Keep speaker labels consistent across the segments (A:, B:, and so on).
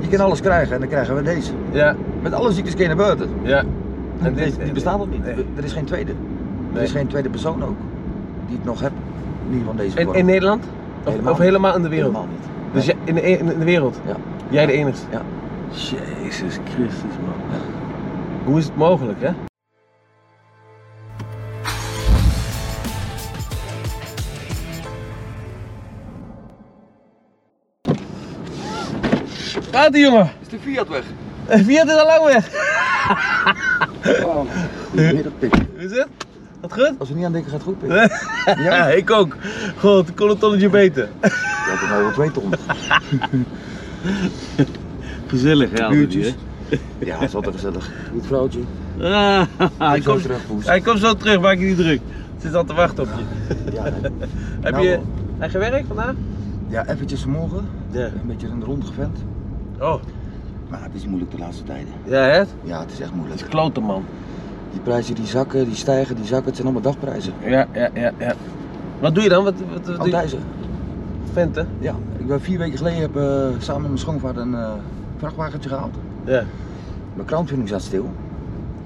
A: Je kan alles krijgen en dan krijgen we deze.
B: Ja,
A: Met alle ziektes kun je naar buiten.
B: ja. En
A: Deze- die bestaat nog niet.
B: Nee.
A: Er is geen tweede. Er
B: Nee.
A: is geen tweede persoon ook die het nog hebt. Niet van deze
B: In,
A: vorm.
B: in Nederland? Of helemaal,
A: Helemaal
B: of
A: niet.
B: helemaal in de wereld?
A: Helemaal niet.
B: Dus
A: Nee.
B: jij, in, de, e- in de wereld?
A: Ja.
B: Jij de enigste?
A: Ja.
B: Jezus Christus, man. Hoe is het mogelijk, hè? Gaat ie, jongen?
A: Is de Fiat weg?
B: Eh, Wie had dit al lang weg?
A: Goedemiddag, Pip.
B: Hoe is het? Gaat goed?
A: Als we niet aan denken, gaat het goed, Pip.
B: Ja. ik ook. God, ik kon een tonnetje beter.
A: Je had er nou wel twee ton.
B: Gezellig, ja.
A: Buurtjes. Ja, het is altijd gezellig. Goed vrouwtje.
B: Ah, hij,
A: Ik kom
B: komt,
A: terug, Poes.
B: hij komt zo terug, maak je niet druk. Het zit al te wachten op je.
A: Ja, nee.
B: Heb
A: Nou,
B: je
A: wel.
B: hij gewerkt vandaag?
A: ja, eventjes vanmorgen.
B: Ja.
A: Een beetje in de rond gevent.
B: Oh,
A: Maar het is moeilijk de laatste tijden.
B: ja hè? Het
A: Ja, het is echt moeilijk.
B: is klote man.
A: Die prijzen die zakken, die stijgen, die zakken. Het zijn allemaal dagprijzen.
B: Ja, ja, ja, ja. Wat doe je dan? Wat, wat, wat doe je?
A: Altijd.
B: Venten?
A: Ja, ik ben vier weken geleden heb, eh, samen met mijn schoonvader een eh, vrachtwagentje gehaald.
B: Ja.
A: Mijn kraanvulling zat stil.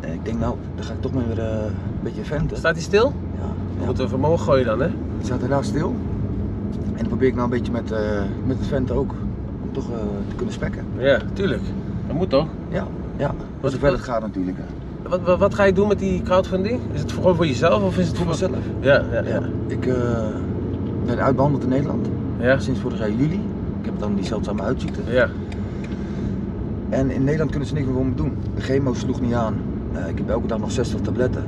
A: En ik denk nou, dan ga ik toch maar weer eh, een beetje venten.
B: Staat hij stil?
A: Ja,
B: Dan
A: ja.
B: moeten we vermogen gooien dan hè?
A: Het staat helaas stil. En dan probeer ik nou een beetje met, eh, met het venten ook. Om toch eh, te kunnen spekken.
B: Ja, tuurlijk. Dat moet toch?
A: Ja, ja.
B: Wat-
A: Zover
B: wat-
A: het gaat natuurlijk. hè.
B: Wat, wat, wat ga je doen met die crowdfunding? Is het gewoon voor jezelf of is het
A: Voor mezelf.
B: Ja, ja,
A: Ja.
B: ja.
A: Ik eh, ben uitbehandeld in Nederland.
B: Ja,
A: Sinds vorig jaar juli. Ik heb dan die zeldzame uitziekte.
B: ja.
A: En in Nederland kunnen ze niks meer voor me doen. De chemo sloeg niet aan. Eh, ik heb elke dag nog 60 tabletten.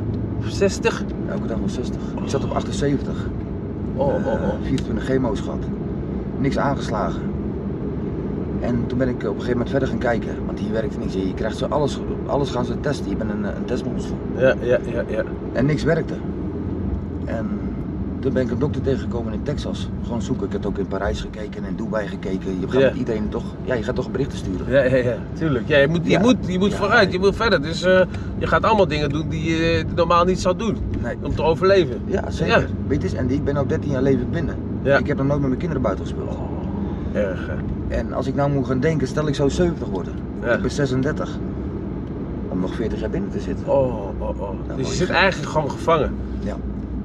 B: 60?
A: Elke dag nog 60. Ik zat op 78.
B: Oh,
A: Eh,
B: oh, oh.
A: 24 chemo's gehad. Niks aangeslagen. En toen ben ik op een gegeven moment verder gaan kijken. Want hier werkte niks. Je krijgt ze alles, alles gaan ze testen. Je bent een, eh, een testmonster.
B: Ja, ja, ja, ja.
A: En niks werkte. En toen ben ik een dokter tegengekomen in Texas. Gewoon zoeken. Ik heb ook in Parijs gekeken en in Dubai gekeken. Je gaat
B: Ja.
A: met iedereen toch. Ja, je gaat toch berichten sturen.
B: Ja, ja, ja, tuurlijk. Ja, je moet, je
A: Ja.
B: moet, je moet
A: Ja.
B: vooruit, je moet verder. Dus eh, je gaat allemaal dingen doen die je eh, normaal niet zou doen.
A: Nee.
B: Om te overleven.
A: Ja, zeker.
B: Ja.
A: Weet je, eens, en ik ben ook 13 jaar leven binnen.
B: Ja. Oh.
A: Ik heb nog nooit met mijn kinderen buiten gespeeld.
B: Erg. hè.
A: En als ik nou moet gaan denken, stel ik zou 70 worden.
B: Ja.
A: Ik ben 36. Om nog 40 jaar binnen te zitten.
B: Oh, oh, oh.
A: Nou,
B: dus je
A: mooi.
B: zit eigenlijk gewoon gevangen.
A: Ja.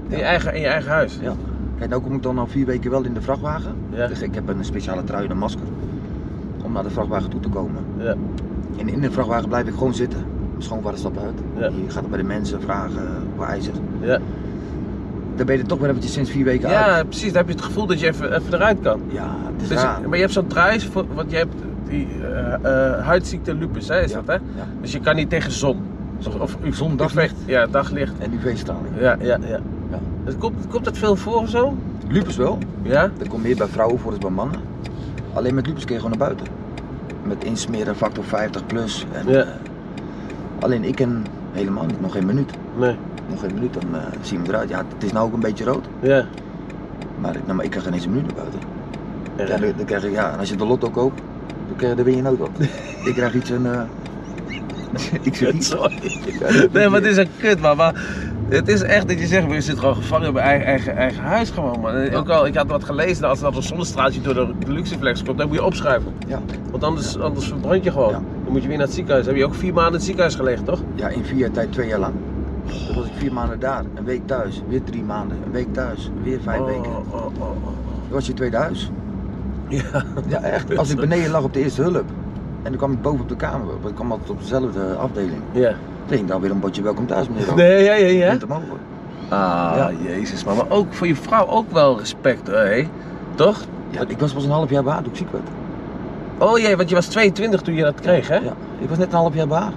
B: In je eigen, in je eigen huis.
A: Ja. Kijk, nou kom ik dan al vier weken wel in de vrachtwagen.
B: Ja.
A: Dus ik heb een speciale trui en een masker. Om naar de vrachtwagen toe te komen.
B: Ja.
A: En in de vrachtwagen blijf ik gewoon zitten. Mijn schoonvader stapt uit.
B: Ja.
A: Je gaat bij de mensen vragen, waar hij zit.
B: Ja.
A: Dan ben je er toch weer eventjes sinds vier weken uit.
B: ja, precies. Dan heb je het gevoel dat je even, even eruit kan.
A: Ja, het is
B: Dus,
A: raar.
B: maar je hebt zo'n trui, voor- want je hebt die eh, eh, huidziekte lupus, hè, is
A: Ja.
B: dat hè?
A: Ja.
B: Dus je kan niet tegen zon. Of, of
A: Zon,
B: daglicht.
A: daglicht.
B: Ja, daglicht.
A: En UV-straling.
B: Ja, ja, ja.
A: Ja.
B: Dus komt, komt dat veel voor of zo?
A: Lupus wel.
B: Ja?
A: Dat komt meer bij vrouwen voor dan bij mannen. Alleen met lupus kun je gewoon naar buiten. Met insmeren, factor 50 plus. En,
B: Ja.
A: eh, alleen ik en helemaal niet, nog geen minuut.
B: Nee.
A: Nog geen minuut, dan eh, zien we eruit. Ja, het is nou ook een beetje rood.
B: Ja.
A: Maar ik, nou, maar ik krijg geen eens een minuut naar buiten.
B: Ja.
A: Ja, dan, dan krijg ik, ja, en als je de lotto koopt, dan, krijg, dan win je nooit wat. ik krijg iets een... eh, ik zeg iets.
B: Sorry.
A: Ja, dat-
B: Nee, maar het is een kut, man. Maar het is echt dat je zegt, maar je zit gewoon gevangen in mijn eigen, eigen, eigen huis gewoon, man. En Ook al, ik had wat gelezen, dat als er dan een zonnestraaltje door de luxeflex komt, dan moet je opschuiven.
A: Ja.
B: Want anders, anders verbrand je gewoon.
A: Ja.
B: Dan moet je weer naar het ziekenhuis. Dan heb je ook vier maanden in het ziekenhuis gelegen, toch?
A: ja, in vier jaar tijd twee jaar lang. Dan was ik vier maanden daar, een week thuis, weer drie maanden, een week thuis, weer vijf
B: Oh,
A: weken.
B: oh, oh, oh.
A: Dat was je tweede huis.
B: Ja.
A: Ja, echt. Als ik beneden lag op de eerste hulp. En dan kwam ik boven op de kamer, want ik kwam altijd op dezelfde afdeling.
B: Ja.
A: Toen ging ik nou, dan weer een bordje welkom thuis, meneer. Roos.
B: Nee, ja, ja, ja.
A: Vindt hem over.
B: Ah,
A: Ja.
B: jezus, man. Maar ook voor je vrouw ook wel respect, hè? Toch?
A: Ja, ik was pas een half jaar behaard toen ik ziek werd.
B: Oh jee, want je was 22 toen je dat kreeg, hè?
A: Ja, ik was net een half jaar behaard.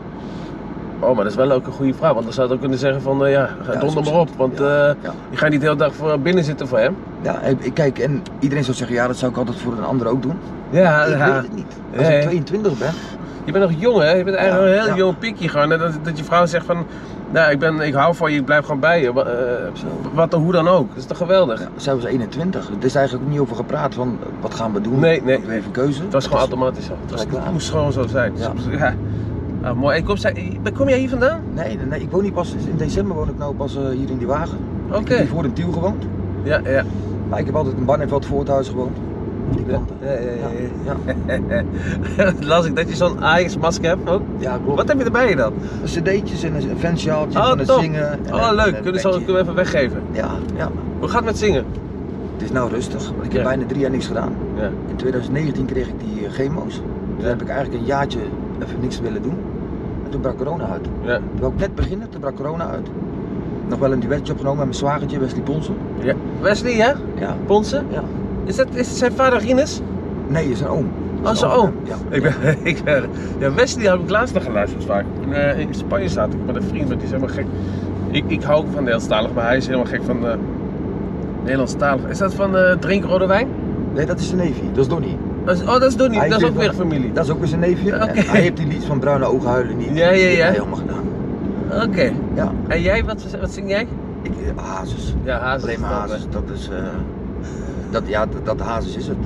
B: Oh, maar dat is wel ook een goede vraag. Want dan zou je ook kunnen zeggen van, eh, ja, ga
A: Ja,
B: donder
A: zo-
B: maar op. Want
A: ja,
B: eh,
A: ja.
B: je gaat niet de hele dag voor binnen zitten voor hem.
A: Ja, ik- ik kijk, en iedereen zou zeggen, ja, dat zou ik altijd voor een ander ook doen.
B: Ja,
A: ik
B: ja.
A: weet het niet. Als
B: Nee.
A: ik 22 ben,
B: je bent nog jong, hè? Je bent eigenlijk
A: Ja,
B: een heel
A: ja.
B: jong pikje gewoon. En dat, dat je vrouw zegt van, nou, ik, ben, ik hou van je, ik blijf gewoon bij je. Wa- eh,
A: Zo.
B: wat dan, hoe dan ook. Dat is toch geweldig?
A: ja, zij was 21. Er is eigenlijk niet over gepraat van, eh, wat gaan we doen?
B: Nee, nee.
A: Hadden we even keuze. Dus-
B: Het was gewoon automatisch zo. Het, was,
A: Gelijk
B: het
A: aan.
B: moest gewoon zo zijn.
A: Ja.
B: ja. Ah, mooi. En kom, zij- kom jij hier vandaan?
A: Nee, nee, nee, ik woon niet pas, in december woon ik nou pas eh, hier in die wagen.
B: Oké.
A: Ik heb hier voor in Tiel gewoond.
B: Ja, ja.
A: Maar ik heb altijd in Barneveld Voorthuis gewoond. die klanten.
B: Ja, ja, ja, ja.
A: ja.
B: Las ik dat je zo'n Ajax-masker hebt ook?
A: Ja, klopt.
B: Wat heb je erbij dan?
A: cd'tjes en een fansjaaltje
B: Oh,
A: van het
B: top.
A: zingen. en
B: Oh,
A: een-
B: leuk.
A: een
B: Kunnen ze al-
A: petje.
B: kunnen we even weggeven?
A: Ja, ja.
B: Hoe gaat het met zingen?
A: Het is nou rustig, want ik heb
B: Ja.
A: bijna drie jaar niks gedaan.
B: Ja.
A: In 2019 kreeg ik die eh, chemo's. Toen
B: Ja.
A: heb ik eigenlijk een jaartje even niks willen doen. En toen brak corona uit.
B: Ja.
A: Toen wou ik net beginnen, toen brak corona uit. Nog wel een duetje opgenomen met mijn zwagertje, Wesley Ponsen.
B: ja. Wesley, hè?
A: Ja.
B: Ponsen?
A: ja.
B: Is dat is het zijn vader Rinus?
A: Nee, is een oom.
B: Oh,
A: Is een
B: zijn oom.
A: Ja.
B: Ik ben, ik ben, ja, Wesley heb ik laatst nog geluisterd vaak. In, eh, in Spanje zat ik met een vriend, maar die is helemaal gek. Ik, ik hou ook van Nederlandstalig, maar hij is helemaal gek van eh Nederlandstalig. Is dat van eh drink rode wijn?
A: Nee, dat is zijn neefje, dat is Donnie.
B: Dat is- oh, dat is Donnie,
A: Hij
B: dat is
A: vindt
B: ook weer
A: wel-
B: familie.
A: Dat is ook weer zijn neefje.
B: Ja, oké.
A: En Hij heeft die lied van bruine ogen huilen niet.
B: Ja, ja,
A: Die heeft
B: ja.
A: hij helemaal gedaan.
B: Oké.
A: Ja.
B: En jij, wat, wat zing jij?
A: Ik, eh, hazes.
B: Ja, Hazes.
A: Alleen maar
B: is dat, hè.
A: hazes, dat is... eh, dat, ja, dat, dat hazes is het.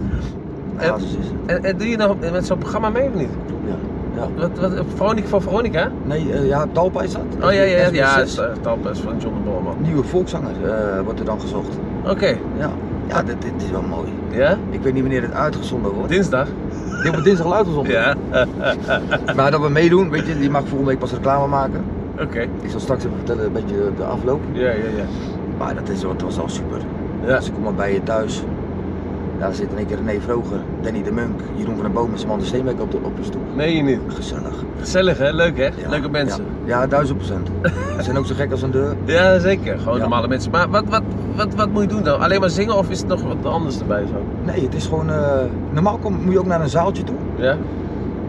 B: En-
A: Hazes is het.
B: En, en doe je nou met zo'n programma mee of niet?
A: Ja. ja.
B: Wat, wat, Veronica voor Veronica?
A: Nee, eh, ja, Talpa is dat.
B: Oh ja, ja, ja. Ja,
A: SBS6.
B: Talpa is eh, van John de Bolman.
A: Nieuwe volkszanger eh, wordt er dan gezocht.
B: Oké.
A: Ja, ja dit, dit is wel mooi.
B: Ja?
A: Ik weet niet wanneer het uitgezonden wordt.
B: Dinsdag?
A: Dit wordt dinsdag al uitgezonden.
B: Ja.
A: Maar dat we meedoen, weet je, die mag volgende week pas reclame maken.
B: Oké.
A: Ik zal straks even vertellen een beetje de afloop.
B: Ja, ja, ja.
A: Maar dat is, het was al super.
B: Ja.
A: Als ik kom al bij je thuis, ja, daar zit in één keer René Vroger, Danny de Munk, Jeroen van der Boom en Samantha Steenbeek op de, op de stoel.
B: Nee, je niet.
A: Gezellig.
B: Gezellig hè? Leuk hè?
A: Ja,
B: Leuke mensen.
A: Ja, ja duizend procent. Ze zijn ook zo gek als een deur.
B: Ja, zeker. Gewoon
A: Ja.
B: normale mensen. Maar wat, wat, wat, wat moet je doen dan? Alleen maar zingen of is het nog wat anders erbij zo?
A: Nee, het is gewoon, eh, normaal kom, moet je ook naar een zaaltje toe.
B: Ja?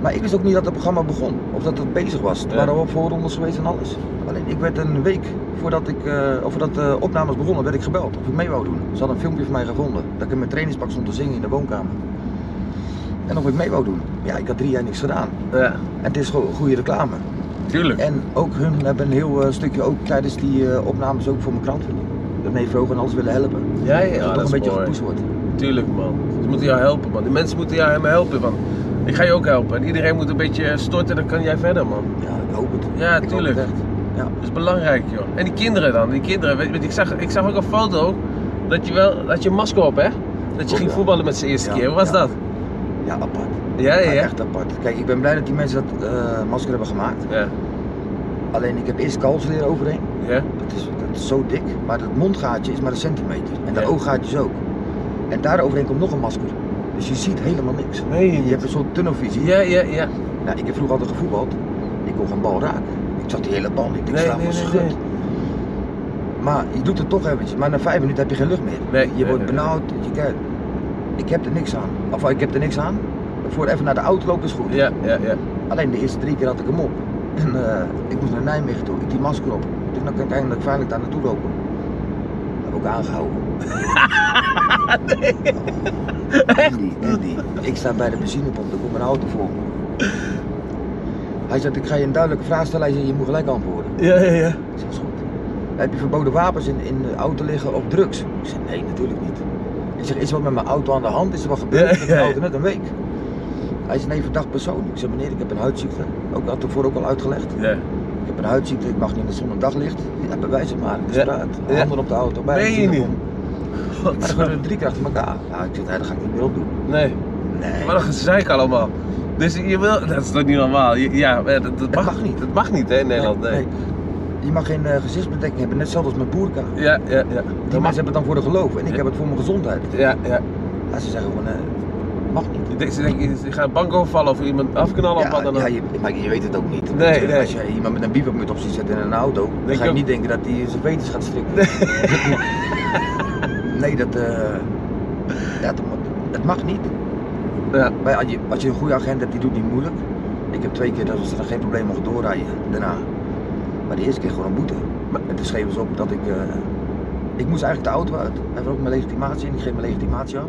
A: Maar ik wist ook niet dat het programma begon of dat het bezig was. Toen
B: Ja.
A: waren we op voorrondes geweest en alles. Alleen ik werd een week voordat, ik, eh, of voordat de opnames begonnen, werd ik gebeld of ik mee wou doen. Ze hadden een filmpje van mij gevonden dat ik in mijn trainingspak stond te zingen in de woonkamer. En of ik mee wou doen. Ja, ik had drie jaar niks gedaan.
B: Ja,
A: En het is gewoon goede reclame.
B: tuurlijk.
A: En ook hun hebben een heel eh, stukje ook tijdens die eh, opnames ook voor mijn krant willen. Dat nee, Vroeg en alles willen helpen.
B: Ja,
A: dat
B: ja,
A: het
B: ja,
A: toch een
B: dat is
A: beetje
B: mooi.
A: gepusht wordt.
B: Tuurlijk man. Ze moeten jou helpen man. Die mensen moeten jou helemaal helpen man. Ik ga je ook helpen. En iedereen moet een beetje storten, dan kan jij verder man.
A: Ja, ik hoop het.
B: Ja,
A: Ik hoop
B: tuurlijk.
A: het echt. Ja.
B: Dat is belangrijk, joh. En die kinderen dan, die kinderen. Weet, weet, ik, zag, ik zag ook een foto dat je wel, dat je een masker op, hè? Dat je
A: Oh,
B: ging
A: ja.
B: voetballen met z'n eerste
A: Ja,
B: keer. Hoe was
A: ja.
B: dat?
A: ja, apart.
B: Ja, ja,
A: Ja,
B: ja.
A: echt apart. Kijk, ik ben blij dat die mensen dat eh, masker hebben gemaakt.
B: Ja,
A: Alleen ik heb eerst kalfsleer overheen.
B: ja.
A: Dat is, dat is zo dik. Maar dat mondgaatje is maar een centimeter. En de
B: Ja.
A: ooggaatjes ook. En daar overheen komt nog een masker. Dus je ziet helemaal niks.
B: Nee,
A: Je
B: niet.
A: hebt een soort tunnelvisie.
B: Ja, ja, ja.
A: Nou, ik heb vroeger altijd gevoetbald. Ik kon geen bal raken. Ik zat die hele bal niet. Ik
B: Nee,
A: sla
B: nee,
A: voor
B: nee,
A: schut.
B: nee.
A: Maar je doet het toch eventjes. Maar na vijf minuten heb je geen lucht meer.
B: Nee,
A: je
B: nee,
A: wordt
B: nee, nee.
A: benauwd. Je kijkt. Ik heb er niks aan. Of ik heb er niks aan. Voor even naar de auto lopen is goed.
B: Ja, ja, ja.
A: Alleen de eerste drie keer had ik hem op. En eh, ik moest naar Nijmegen toe. Ik die masker op. Dus dan kan ik eindelijk veilig daar naartoe lopen. Heb ik ook aangehouden. Andy, Andy. Ik sta bij de benzinepomp. Er komt een auto voor me. Hij zegt, ik ga je een duidelijke vraag stellen. Hij zegt, je moet gelijk antwoorden.
B: Ja, ja, ja.
A: Ik zeg, is goed. Heb je verboden wapens in, in de auto liggen of drugs? Ik zeg, nee, natuurlijk niet. Ik zeg, is er wat met mijn auto aan de hand? Is er wat gebeurd?
B: Ja,
A: ik heb
B: ja,
A: mijn
B: ja.
A: auto net een week. Hij is een verdacht persoon. Ik zeg, meneer, ik heb een huidziekte. Ook had ervoor ook al uitgelegd.
B: ja.
A: Ik heb een huidziekte, ik mag niet in de zon en daglicht. Ja, bewijs het maar. Ik
B: Ja.
A: straat,
B: Ja.
A: handen op de auto. Bij
B: Meen je
A: een
B: niet?
A: zonnebom.
B: God,
A: Maar dat gebeurde drie keer achter elkaar. Ja, ik zeg, nee, dat ga ik niet meer opdoen.
B: Nee,
A: Nee.
B: wat een gezeik allemaal. Dus je wil, dat is toch niet normaal? Je- Ja, maar dat, dat
A: Het mag niet.
B: Dat mag niet hè, in Nederland, nee.
A: Je mag geen eh, gezichtsbedekking hebben, net hetzelfde als met boerka.
B: Ja, ja,
A: Die
B: ja.
A: mensen hebben het dan voor de geloof en ik
B: Ja.
A: heb het voor mijn gezondheid.
B: Ja, ja.
A: Ja, ze zeggen gewoon, eh, mag niet.
B: Je denkt, ze denken, ze gaan een bank overvallen of iemand afknallen of wat dan ook.
A: ja, je, maar je weet het ook niet.
B: Nee,
A: Weet je,
B: nee.
A: Als je iemand met een bivakmuts op ziet zitten in een auto, dan
B: Denk
A: ga je
B: ook-
A: niet denken dat hij zijn veters gaat strikken. nee, dat, eh, ja, dat, mag- dat mag niet.
B: Ja.
A: Maar ja, als je, als je een goede agent hebt, die doet niet moeilijk. Ik heb twee keer dat ze er geen probleem mogen doorrijden daarna. Maar de eerste keer gewoon een boete.
B: Maar-
A: En toen schreven ze op dat ik. eh, ik moest eigenlijk de auto uit. Hij vroeg mijn legitimatie en ik geef mijn legitimatie af.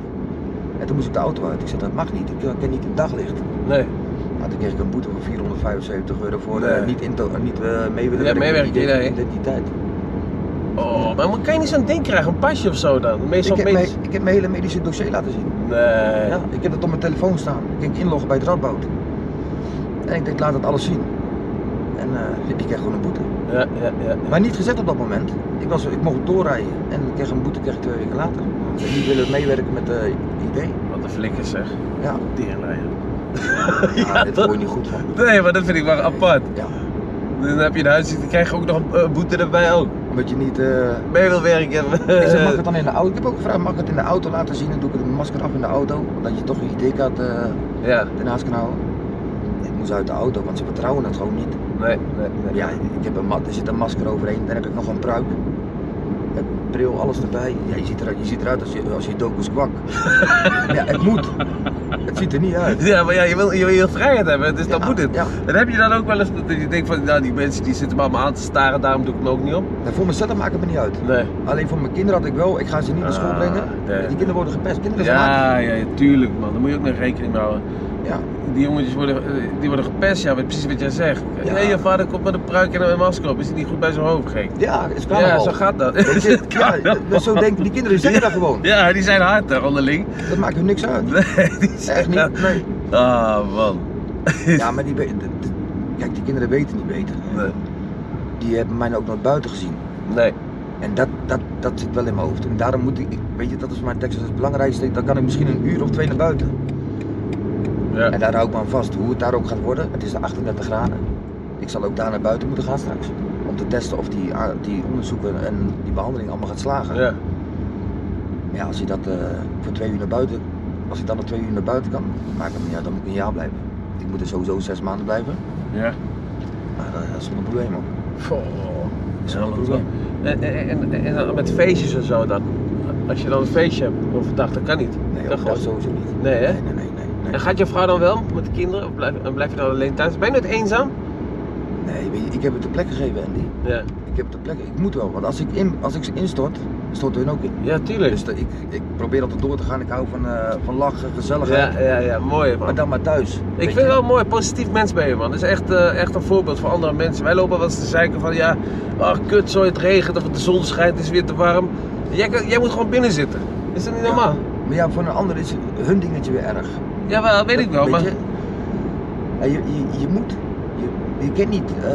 A: En toen moest ik de auto uit. Ik zei dat mag niet. Ik eh, ken niet het daglicht.
B: Nee.
A: Nou, toen kreeg ik een boete van 475 euro voor
B: Nee.
A: eh, niet, into, niet eh, mee willen
B: Ja,
A: werken met
B: meewerken,
A: ident-
B: nee.
A: identiteit.
B: Oh, maar moet- kan je niet zo'n ding krijgen, een pasje of zo dan?
A: Ik
B: Meestal
A: heb,
B: medisch.
A: mijn, ik heb mijn hele medische dossier laten zien.
B: Nee.
A: Ja, ik heb dat op mijn telefoon staan. Ik ging inloggen bij het Radboud. En ik denk, laat het alles zien. En eh, ik kreeg gewoon een boete.
B: Ja, ja, ja.
A: Maar niet gezet op dat moment. Ik, was, ik mocht doorrijden en ik kreeg een boete kreeg ik twee weken later. En die willen meewerken met de idee.
B: Wat de flikkers zeg.
A: Ja,
B: Teerlijn.
A: ja dit
B: dat-
A: hoor je niet goed van.
B: Nee, maar dat vind ik wel apart.
A: Ja.
B: Dan heb je een huisziekte, krijg je ook nog een eh, boete erbij ook.
A: Omdat je niet... eh,
B: Mee wil werken.
A: Ik
B: Eh,
A: zeg, mag ik het dan in de auto? Ik heb ook gevraagd, mag ik het in de auto laten zien? Dan doe ik het masker af in de auto, omdat je toch je ID-kaart eh,
B: ja,
A: ernaast kan houden. Ik moest uit de auto, want ze vertrouwen het gewoon niet.
B: nee, nee, nee.
A: Ja, ik heb een mat, er zit een masker overheen, dan heb ik nog een pruik. Heb bril, alles erbij. Ja, je, ziet eruit, je ziet eruit als je, als je dokus kwak. ja, het moet. Het ziet er niet uit.
B: Ja, maar ja, je wil, je wil je vrijheid hebben, dus dan
A: Ja,
B: moet het.
A: ja.
B: En heb je dan ook wel eens dat je denkt van, nou die mensen die zitten me allemaal aan te staren, daarom doe ik me ook niet op?
A: Nou, voor mezelf maakt het me niet uit.
B: Nee.
A: Alleen voor mijn kinderen had ik wel, ik ga ze niet naar school
B: Ah,
A: brengen.
B: nee.
A: Die kinderen worden gepest, kinderen zijn haat.
B: Ja, ja, ja, tuurlijk man, daar moet je ook nog rekening mee houden.
A: Ja,
B: Die jongetjes worden, eh, die worden gepest, ja, weet precies wat jij zegt.
A: Ja.
B: Nee, je vader komt met een pruik en een masker op, is hij niet goed bij zijn hoofd gek?
A: ja, het is
B: Ja,
A: carnaval.
B: zo gaat dat.
A: Weet je, ja,
B: Carnaval.
A: zo denken die kinderen, die zitten daar gewoon.
B: Ja, die zijn hard daar onderling.
A: Dat maakt hun niks uit.
B: Nee, Dus- die zijn
A: Echt niet, nee.
B: Ah man.
A: Ja, maar die, we- de- de- kijk, die kinderen weten niet beter.
B: Nee.
A: Die hebben mij ook nooit buiten gezien.
B: Nee.
A: En dat, dat, dat zit wel in mijn hoofd. En daarom moet ik, ik- weet je, dat is voor mij Texas het belangrijkste. Dan kan ik misschien een uur of twee naar buiten.
B: Ja.
A: En daar hou ik me aan vast. Hoe het daar ook gaat worden, het is de 38 graden. Ik zal ook daar naar buiten moeten gaan straks. Om te testen of die, a- die onderzoeken en die behandeling allemaal gaat slagen.
B: Ja.
A: Ja, als je dat eh, voor twee uur naar buiten, als ik dan nog twee uur naar buiten kan, maakt het niet uit, dan moet ik een jaar blijven. Ik moet er sowieso zes maanden blijven,
B: Ja.
A: maar eh, dat is zonder probleem man.
B: Goh.
A: Is
B: Ja,
A: wel een
B: want-
A: probleem.
B: En, en, en, en dan met feestjes en zo dan? Als je dan een feestje hebt overdag, dat kan niet.
A: Nee,
B: dat
A: dat
B: gewoon.
A: sowieso niet.
B: Nee, hè?
A: Nee, nee, nee. nee,
B: En
A: nee.
B: gaat je vrouw dan wel met de kinderen? Of blijf, en blijf je dan alleen thuis? Ben je nooit eenzaam?
A: Nee, weet je, ik heb het de plek gegeven Andy.
B: Ja.
A: Ik heb het de plek, ik moet wel, want als ik, in, als ik ze instort, storten hun ook in.
B: Ja, tuurlijk.
A: Dus dat- ik, ik probeer altijd door te gaan, ik hou van, eh, van lachen, gezelligheid,
B: ja, ja, ja, mooi man.
A: maar dan maar thuis.
B: Ik
A: weet
B: vind
A: je.
B: het wel een mooi, positief mens ben je man. Dat is echt, eh, echt een voorbeeld voor andere mensen. Wij lopen wel eens te zeiken van ja, ach kut, zo het regent of de zon schijnt, het is weer te warm. Jij, kan- jij moet gewoon binnen zitten. Is dat niet
A: Ja.
B: normaal?
A: Maar ja, voor een ander is hun dingetje weer erg.
B: Ja, wel, weet ik wel,
A: Weet
B: maar...
A: je, Ja, je, je, je moet, je, je kent niet... eh,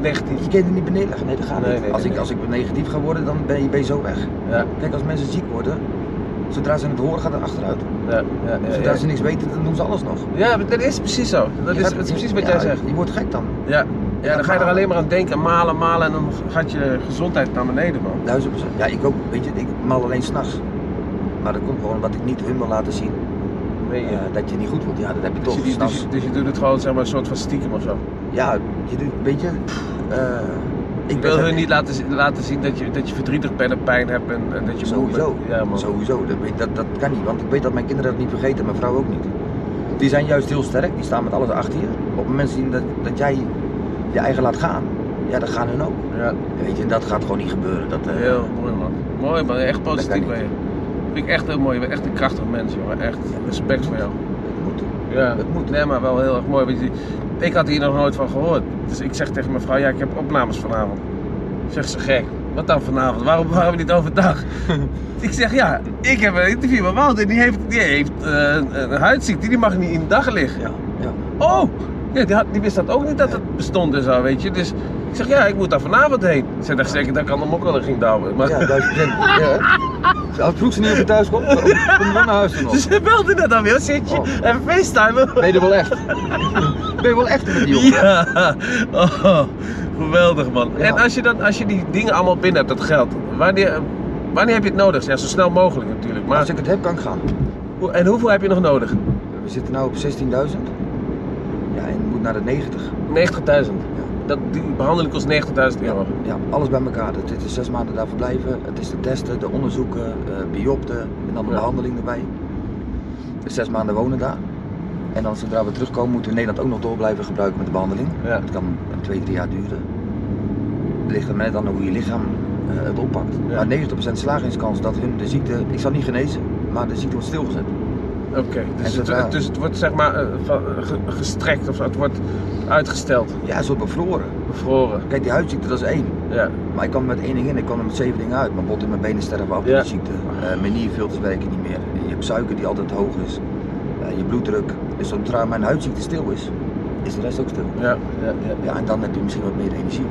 B: 19.
A: Je kunt er niet beneden leggen, nee dat gaat
B: Nee,
A: niet.
B: nee,
A: als,
B: nee,
A: ik,
B: nee.
A: als ik negatief ga worden, dan ben je, ben je zo weg.
B: Ja,
A: Kijk, als mensen ziek worden, zodra ze het horen gaat het achteruit. Dus
B: ja, ja. ja,
A: Zodra
B: ja.
A: ze niks weten, dan doen ze alles nog.
B: Ja, maar dat is precies zo. Dat
A: Je
B: is,
A: gaat-
B: dat is precies wat
A: ja,
B: jij zegt.
A: Je wordt gek dan,
B: Ja. ja, dan ga je er
A: malen.
B: alleen maar aan denken, malen, malen en dan gaat je gezondheid naar beneden, man.
A: duizend procent. Ja, ik ook, weet je, ik mal alleen s'nachts. Maar dat komt gewoon omdat ik niet hun wil laten zien
B: Nee,
A: eh,
B: ja.
A: dat je niet goed wordt. Ja, dat heb je
B: dus,
A: toch
B: je, dus,
A: s'nachts.
B: je, dus je doet het gewoon zeg maar, een soort van stiekem of zo.
A: Ja, je doet, weet je, eh,
B: Ik
A: ik
B: wil
A: ben-
B: hun niet laten, zi- laten zien dat je, dat je verdrietig bent en pijn hebt en, en dat je moe bent.
A: Sowieso,
B: Ja, man.
A: sowieso. Dat, weet- dat, dat kan niet, want ik weet dat mijn kinderen dat niet vergeten, mijn vrouw ook niet. Die zijn juist heel sterk, die staan met alles achter je. Op het moment zien dat, dat jij je eigen laat gaan, ja, dat gaan hun ook.
B: Ja,
A: Weet je, en dat gaat gewoon niet gebeuren. Dat, eh,
B: heel mooi, man. Mooi, man. Echt
A: Dat
B: positief
A: kan
B: ben je. Vind ik echt heel mooi. Je bent echt een krachtig mens, jongen. Echt respect voor jou.
A: dat moet.
B: Ja,
A: Dat moet.
B: Nee, maar wel heel erg mooi. Want je- ik had hier nog nooit van gehoord. Dus ik zeg tegen mijn vrouw, ja, ik heb opnames vanavond. Zegt ze, gek. Wat dan vanavond? Waarom, waarom niet overdag? ik zeg, ja, ik heb een interview met Wouter. en Die heeft, die heeft eh, een, een huidziekte, die mag niet in de dag liggen.
A: Ja, ja.
B: Oh! Ja, die, had- die wist dat ook niet dat het bestond en zo, weet je. Dus ik zeg, ja, ik moet daar vanavond heen. Ze dacht zeker dat ik aan de mokkel ging douwen. Maar
A: ja, duizend procent. Ja. hè? Als vroeg ze niet op je thuis komt, kom kom dan naar huis dan nog.
B: Dus ze belde net aan weer, zit je?
A: Oh.
B: En facetimen.
A: Ben je er wel echt? Ben je wel echt met die jongen?
B: Ja, oh, geweldig man.
A: Ja.
B: En als je, dan, als je die dingen allemaal binnen hebt, dat geld, wanneer, wanneer heb je het nodig? Ja, zo snel mogelijk natuurlijk. Maar,
A: Als ik het heb, kan ik gaan.
B: hoe- en hoeveel heb je nog nodig? 90.000.
A: We zitten nu op 16.000. Ja, en het moet naar de 90.
B: Dat, die behandeling kost 90.000 euro.
A: Ja, alles bij elkaar. Dat- Dit is zes maanden daar verblijven. Het is de testen, de onderzoeken, eh biopten en dan de
B: Ja.
A: behandeling erbij. Dus zes maanden wonen daar. En dan zodra we terugkomen moeten we in Nederland ook nog door blijven gebruiken met de behandeling.
B: Ja.
A: Het kan twee, drie jaar duren. Het ligt er maar net aan hoe je lichaam eh, het oppakt.
B: Ja.
A: Maar 90% slagingskans dat hun de ziekte, ik zal niet genezen, maar de ziekte wordt stilgezet.
B: Oké,
A: En
B: dus, het-
A: zodra-
B: het- dus het wordt zeg maar eh, van- eh, ge- gestrekt of zo, het wordt uitgesteld,
A: Ja, ze wordt bevroren.
B: bevroren.
A: Kijk, die huidziekte dat is één.
B: Ja,
A: Maar ik kwam er met één ding in, ik kwam er met zeven dingen uit. Mijn bot en mijn benen sterven af door
B: Ja.
A: de ziekte. Eh mijn nierfilters werken niet meer. Je hebt suiker die altijd hoog is. Eh, je bloeddruk. Dus zodra mijn huidziekte stil is, is de rest ook stil.
B: ja, ja, ja.
A: Ja, en dan heb je misschien wat meer energie.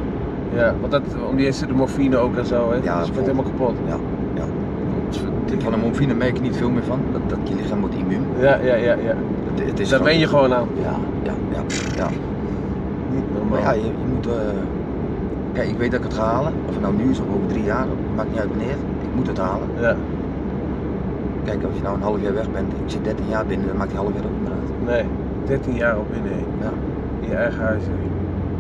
B: ja. Want dat, om die is de morfine ook en zo, hè?
A: Ja,
B: dus het wordt
A: vol.
B: helemaal kapot.
A: Ja, ja.
B: Het is-
A: natuurlijk. Van de morfine merk je niet veel meer van. Dat, dat je lichaam wordt immuun.
B: Ja, ja, ja, ja.
A: Het, het
B: Dus
A: is
B: daar ben je gewoon aan.
A: Ja, ja, ja. ja. Maar
B: Normaal.
A: ja, je, je moet. eh, Kijk, ik weet dat ik het ga halen. Of het nou nu is of over drie jaar, dat maakt niet uit wanneer. Ik moet het halen.
B: Ja,
A: Kijk, als je nou een half jaar weg bent, ik zit 13 jaar binnen, dan maakt die half jaar ook niet meer uit.
B: nee. 13 jaar op binnen. hè.
A: Ja,
B: In je eigen huis. hè.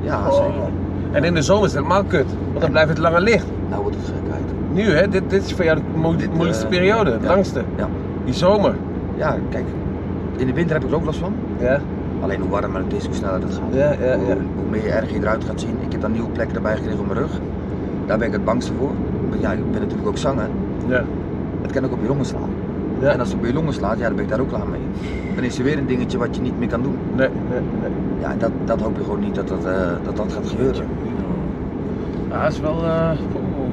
A: ja
B: Oh.
A: zeker.
B: En in de zomer is het helemaal kut, want dan blijft het langer licht.
A: Nou wordt het gekheid.
B: Nu hè, dit, dit is voor jou de mo-
A: Dit, eh,
B: moeilijkste periode, de
A: ja.
B: langste.
A: Ja.
B: Die zomer.
A: Ja, kijk, in de winter heb ik er ook last van.
B: Ja,
A: Alleen hoe warmer het is, hoe sneller het gaat.
B: ja, ja.
A: Hoe,
B: ja.
A: hoe meer je erg je eruit gaat zien. Ik heb dan nieuwe plekken erbij gekregen op mijn rug. Daar ben ik het bangste voor. Want ja, ik ben natuurlijk ook zanger.
B: ja.
A: Het kan ook op je longen slaan.
B: ja.
A: En als het op je longen slaat, ja, dan ben ik daar ook klaar mee. Dan is er weer een dingetje wat je niet meer kan doen.
B: Nee, nee, nee.
A: Ja, en dat, dat hoop je gewoon niet dat dat, eh, dat, dat gaat gebeuren.
B: Ja, het is wel eh, oeh,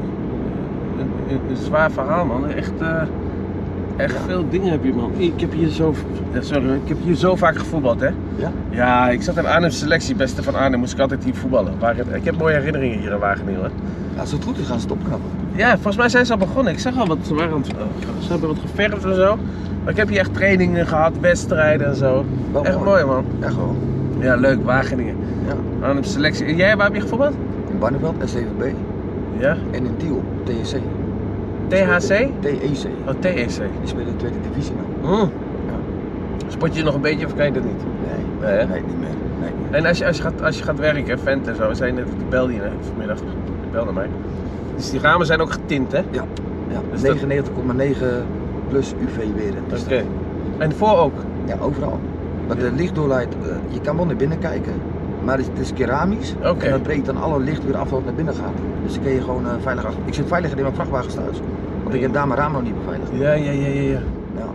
B: een, een, een zwaar verhaal, man. Echt, eh, echt
A: Ja.
B: veel dingen heb je, man. Ik heb hier zo, ja, sorry, ik heb hier zo vaak gevoetbald, hè?
A: Ja?
B: Ja, ik zat in Arnhem Selectie, beste van Arnhem, moest ik altijd hier voetballen. Wagen- Ik heb mooie herinneringen hier in Wageningen, hoor.
A: Als het goed is, gaan ze het opknappen.
B: Ja, volgens mij zijn ze al begonnen. Ik zag al wat, ze, waren aan het- eh, ze hebben wat geverfd en zo. Maar ik heb hier echt trainingen gehad, wedstrijden en zo.
A: Wel
B: echt mooi, man.
A: Ja, gewoon.
B: Ja, leuk, Wageningen.
A: Ja.
B: Arnhem Selectie. En jij, waar heb je gevoetbald?
A: In Barneveld, SCVB
B: Ja.
A: en in Tiel, E TEC.
B: THC?
A: TEC.
B: Oh, TEC.
A: Die spelen in de tweede divisie nou.
B: Mm. Spot je nog een beetje of kan je dat niet?
A: Nee,
B: Nee, hè?
A: nee, niet meer. Nee.
B: En als je, als je, gaat, als je gaat werken, vent en zo, zijn net, die belde je vanmiddag, die belde mij. Dus die ramen zijn ook getint, hè? Oké.
A: Ja,
B: Dus dat-
A: 99,9 plus UV weer. Dus
B: En voor ook?
A: Ja, overal. Want de lichtdoorleid, eh, je kan wel naar binnen kijken, maar het is keramisch.
B: Oké.
A: En dat breekt dan alle licht weer af wat naar binnen gaat. Dus dan kun je gewoon eh, veilig achter. Ik zit veiliger in mijn vrachtwagens thuis. Want ik heb daar mijn raam nog niet beveiligd.
B: Ja, ja, ja, ja. ja.
A: Ja.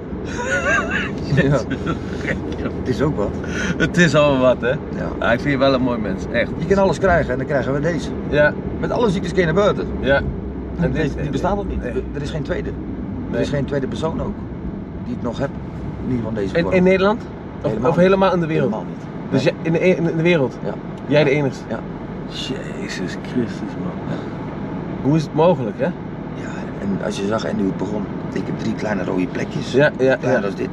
A: ja. Het is ook wat.
B: Het is allemaal wat, hè?
A: Ja.
B: Ah, ik vind je wel een mooi mens, echt.
A: Je kan alles krijgen en dan krijgen we deze.
B: Ja,
A: Met alle ziektes kun je naar buiten.
B: ja.
A: En
B: eh,
A: deze, die bestaat ook niet.
B: Nee.
A: Er is geen tweede. Er
B: Nee.
A: is geen tweede persoon ook die het nog hebt. Niet van deze
B: In,
A: vorm.
B: in Nederland? Of helemaal,
A: Helemaal
B: of helemaal in de wereld?
A: Helemaal niet.
B: Dus jij, in, de, e- in de wereld?
A: Ja.
B: Jij de enigste?
A: Ja.
B: Jezus Christus, man. Hoe is het mogelijk, hè?
A: Ja, en als je zag en nu het begon, ik heb drie kleine rode plekjes.
B: Ja, ja,
A: Kleiner
B: ja.
A: als dit.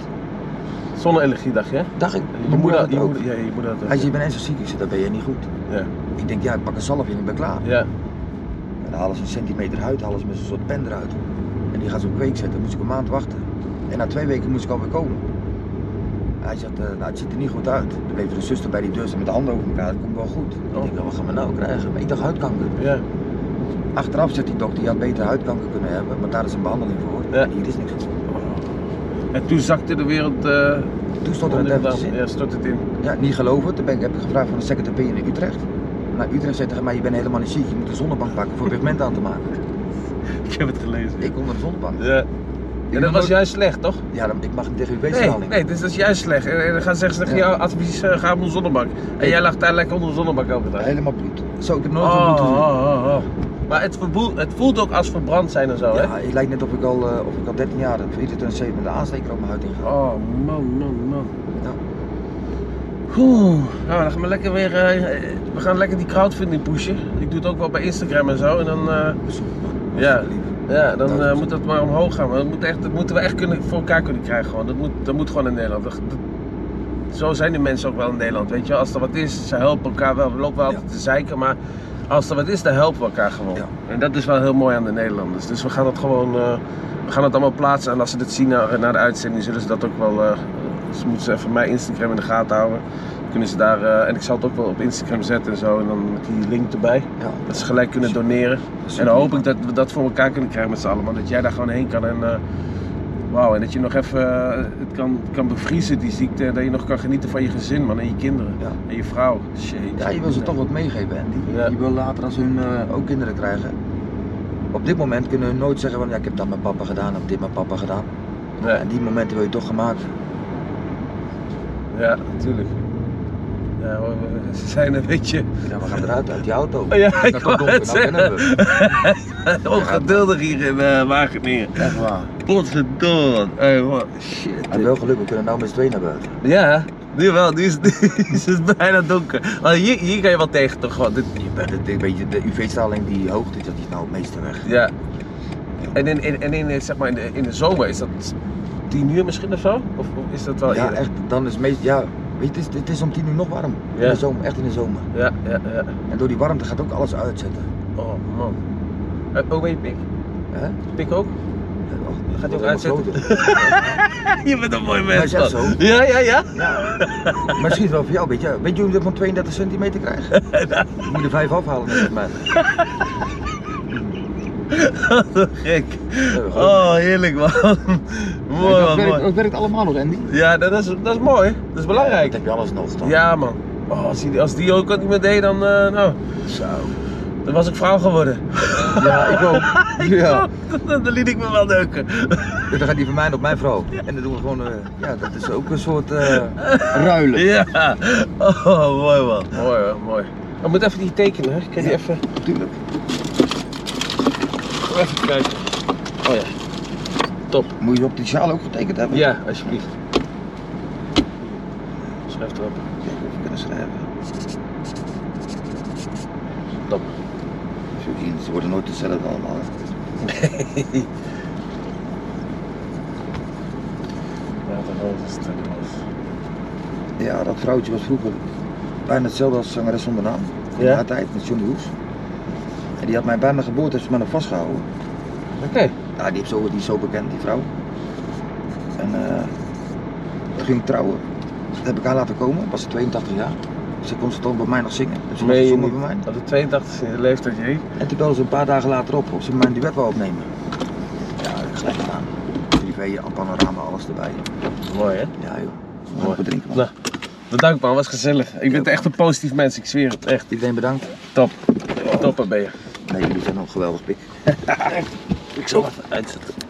B: Zonne-energiedag, hè?
A: Dacht ik,
B: Je
A: mijn moeder
B: moeder,
A: had
B: je
A: het ook.
B: moeder, ja, je moeder had het ook.
A: Als je bij mensen ziek is, dan ben je niet goed.
B: Ja.
A: Ik denk, ja, ik pak een zalfje en ik ben klaar.
B: Ja,
A: En dan halen ze een centimeter huid, halen ze met zo'n soort pen eruit. En die gaan ze op kweek zetten, moest ik een maand wachten. En na twee weken moest ik alweer komen. Hij zegt, eh, nou het ziet er niet goed uit. Toen bleef er een zuster bij die deur staan met de handen over elkaar, dat komt wel goed. Ik
B: Oh.
A: denk, nou, wat gaan we nou krijgen? Maar ik dacht huidkanker.
B: ja,
A: Achteraf zegt die dokter, je had beter huidkanker kunnen hebben, want daar is een behandeling voor.
B: Ja.
A: En hier is niks van.
B: En toen zakte de wereld eh
A: Toen stond er een
B: onder de
A: dempeltjes in.
B: dam. Ja, stort het in.
A: Ja, niet geloven. Toen ben ik, heb ik gevraagd van de second opinion in Utrecht. Maar Utrecht zei tegen mij, je bent helemaal niet ziek, je moet een zonnebank pakken voor pigment aan te maken.
B: Ik heb het gelezen.
A: Ik onder de zonnebank.
B: Ja. En dat was juist slecht, toch?
A: Ja, dan, ik mag niet tegen
B: Nee,
A: UV-straling.
B: nee, dus dat is juist slecht. En, en dan gaan ze zeggen, tegen
A: Ja.
B: jou advies, eh, ga op een zonnebank. En
A: Nee.
B: jij lag daar lekker onder de zonnebank elke dag.
A: Helemaal bloed. Zo, ik heb nooit
B: Oh,
A: een bloed
B: oh,
A: gezien.
B: oh, oh. Maar het, verboel- het voelt ook als verbrand zijn en zo, hè?
A: Ja, het lijkt net of ik al, eh, of ik al 13 jaar, of 24 met een aansteker op mijn huid inga.
B: Oh, man, man, man.
A: Ja.
B: Oeh, nou, dan gaan we lekker weer. eh, eh, we gaan lekker die crowdfunding pushen. Ik doe het ook wel bij Instagram en zo. En dan, eh, Ja.
A: Alsjeblieft.
B: ja, dan
A: Dat
B: eh,
A: is-
B: moet dat maar omhoog gaan. Maar dat, moet echt, dat moeten we echt kunnen, voor elkaar kunnen krijgen. Gewoon. Dat, moet, dat moet gewoon in Nederland. Dat- dat- zo zijn de mensen ook wel in Nederland. Weet je, wel. als er wat is, ze helpen elkaar wel. We lopen wel
A: Ja.
B: altijd te zeiken, maar als er wat is, dan helpen we elkaar gewoon.
A: Ja.
B: En dat is wel heel mooi aan de Nederlanders. Dus we gaan dat gewoon. eh, we gaan het allemaal plaatsen. En als ze dit zien na, na de uitzending, zullen ze dat ook wel. eh, ze moeten ze even mijn Instagram in de gaten houden. Kunnen ze daar, eh, en ik zal het ook wel op Instagram zetten en zo. En dan met die link erbij.
A: Ja.
B: Dat ze gelijk kunnen doneren. En dan hoop ik dat we dat voor elkaar kunnen krijgen met z'n allen. man. Dat jij daar gewoon heen kan en. eh, Wauw, en dat je nog even eh, het kan, kan bevriezen, die ziekte. en Dat je nog kan genieten van je gezin, man. En je kinderen.
A: Ja.
B: En je vrouw. Shit.
A: Ja, je wil ze toch wat meegeven. En die,
B: Ja.
A: die wil later als hun eh, ook kinderen krijgen. Op dit moment kunnen hun nooit zeggen van ja, ik heb dat met papa gedaan, of dit met papa gedaan.
B: Ja,
A: En die momenten wil je toch gemaakt.
B: ja natuurlijk. Ja, hoor, we- ze zijn een beetje.
A: Ja, we gaan eruit uit die auto.
B: Oh ja,
A: Het
B: ik
A: is nog
B: wou
A: donker,
B: het
A: nou
B: zeggen.
A: kennen we.
B: Ongeduldig hier in eh, Wageningen.
A: Echt waar.
B: Potverdomme. Hey, man. Shit.
A: En wel geluk, we kunnen nou met z'n tweeën naar buiten.
B: Ja, nu wel. Nu is, nu is het bijna donker. Maar hier, hier kan je wel tegen toch gewoon. Dit,
A: Je bent- het- Weet je, de UV-straling die hoogte, dat is nou het meeste weg.
B: ja.
A: Ja.
B: En in, in, en in, eh, zeg maar in, de, in de zomer is dat 10 uur misschien of zo? Of of is dat wel
A: Ja,
B: eerder?
A: echt, dan is het meest, ja, weet je, het is, het is om tien uur nog warm. In
B: Ja.
A: de zomer, echt in de zomer.
B: Ja, ja, ja.
A: En door die warmte gaat ook alles uitzetten.
B: Oh man. Eh, oh, ben je pik?
A: Hè?
B: Pik ook?
A: Och,
B: Gaat hij ook
A: wordt helemaal
B: uitzetten?
A: groter.
B: je bent een mooi
A: Maar is dat
B: mens. man.
A: zo?
B: Ja, ja, ja.
A: Ja. Maar misschien is het wel voor jou, weet je. Weet je hoe je dat van 32 centimeter krijgt? Je moet er vijf afhalen met mij.
B: Oh, Wat gek.
A: Ja, goed.
B: Oh, heerlijk man. mooi
C: dat,
B: man,
C: werkt,
B: mooi.
C: dat werkt allemaal nog, Andy.
B: Ja, dat is, dat is mooi. Dat is
A: Dat
B: belangrijk.
A: heb je alles nog, toch?
B: Ja man. Oh, als, die, als die ook wat niet meer deed, dan, eh, nou,
A: Zo.
B: dan was ik vrouw geworden.
A: Ja, ik ook. Ja.
B: dan liet ik me wel neuken.
A: Dus dan gaat die van mij op mijn vrouw. En dan doen we gewoon, eh, ja, dat is ook een soort... eh,
C: Ruilen.
B: Ja. Oh, mooi man. Mooi hoor, mooi. Ik moet even die tekenen, hè. Kan je die even...
A: Tuurlijk.
B: Even kijken. Oh ja. Top.
A: Moet je op die sjaal ook getekend hebben?
B: Ja, alsjeblieft. Schrijf erop.
A: Kijk of we kunnen schrijven.
B: Top.
A: Zo, Ze worden nooit hetzelfde allemaal.
B: Ja, dat rood is het. rood.
A: Ja, dat vrouwtje was vroeger bijna hetzelfde als zangeres zonder naam. In
B: Ja?
A: haar tijd met Johnny Hoes. En die had mij bijna geboord, heeft ze me nog vastgehouden.
B: Oké.
A: Ja, die, heeft zo, die is zo bekend, die vrouw. En eh toen ging ik trouwen. Dat heb ik haar laten komen, was ze 82 jaar. Ze kon ze dan bij mij nog zingen. Dus ze nog
B: Meen je
A: gezongen bij
B: niet?
A: mij.
B: Op de 82 e leeftijd, jee.
A: En toen belde ze een paar dagen later op of ze mijn duet wou opnemen. Ja, dat heb ik gelijk gedaan. Privé, panorama, alles erbij.
B: Mooi hè?
A: Ja joh,
B: Mooi.
A: mooi bedrinken man.
B: Nou, bedankt man, was gezellig. Ik ben echt een positief mens, ik zweer het. Echt
A: Iedereen bedankt.
B: top. Topper ben je.
A: Nee, jullie zijn nog geweldig pik.
B: Ik zal even uitzetten.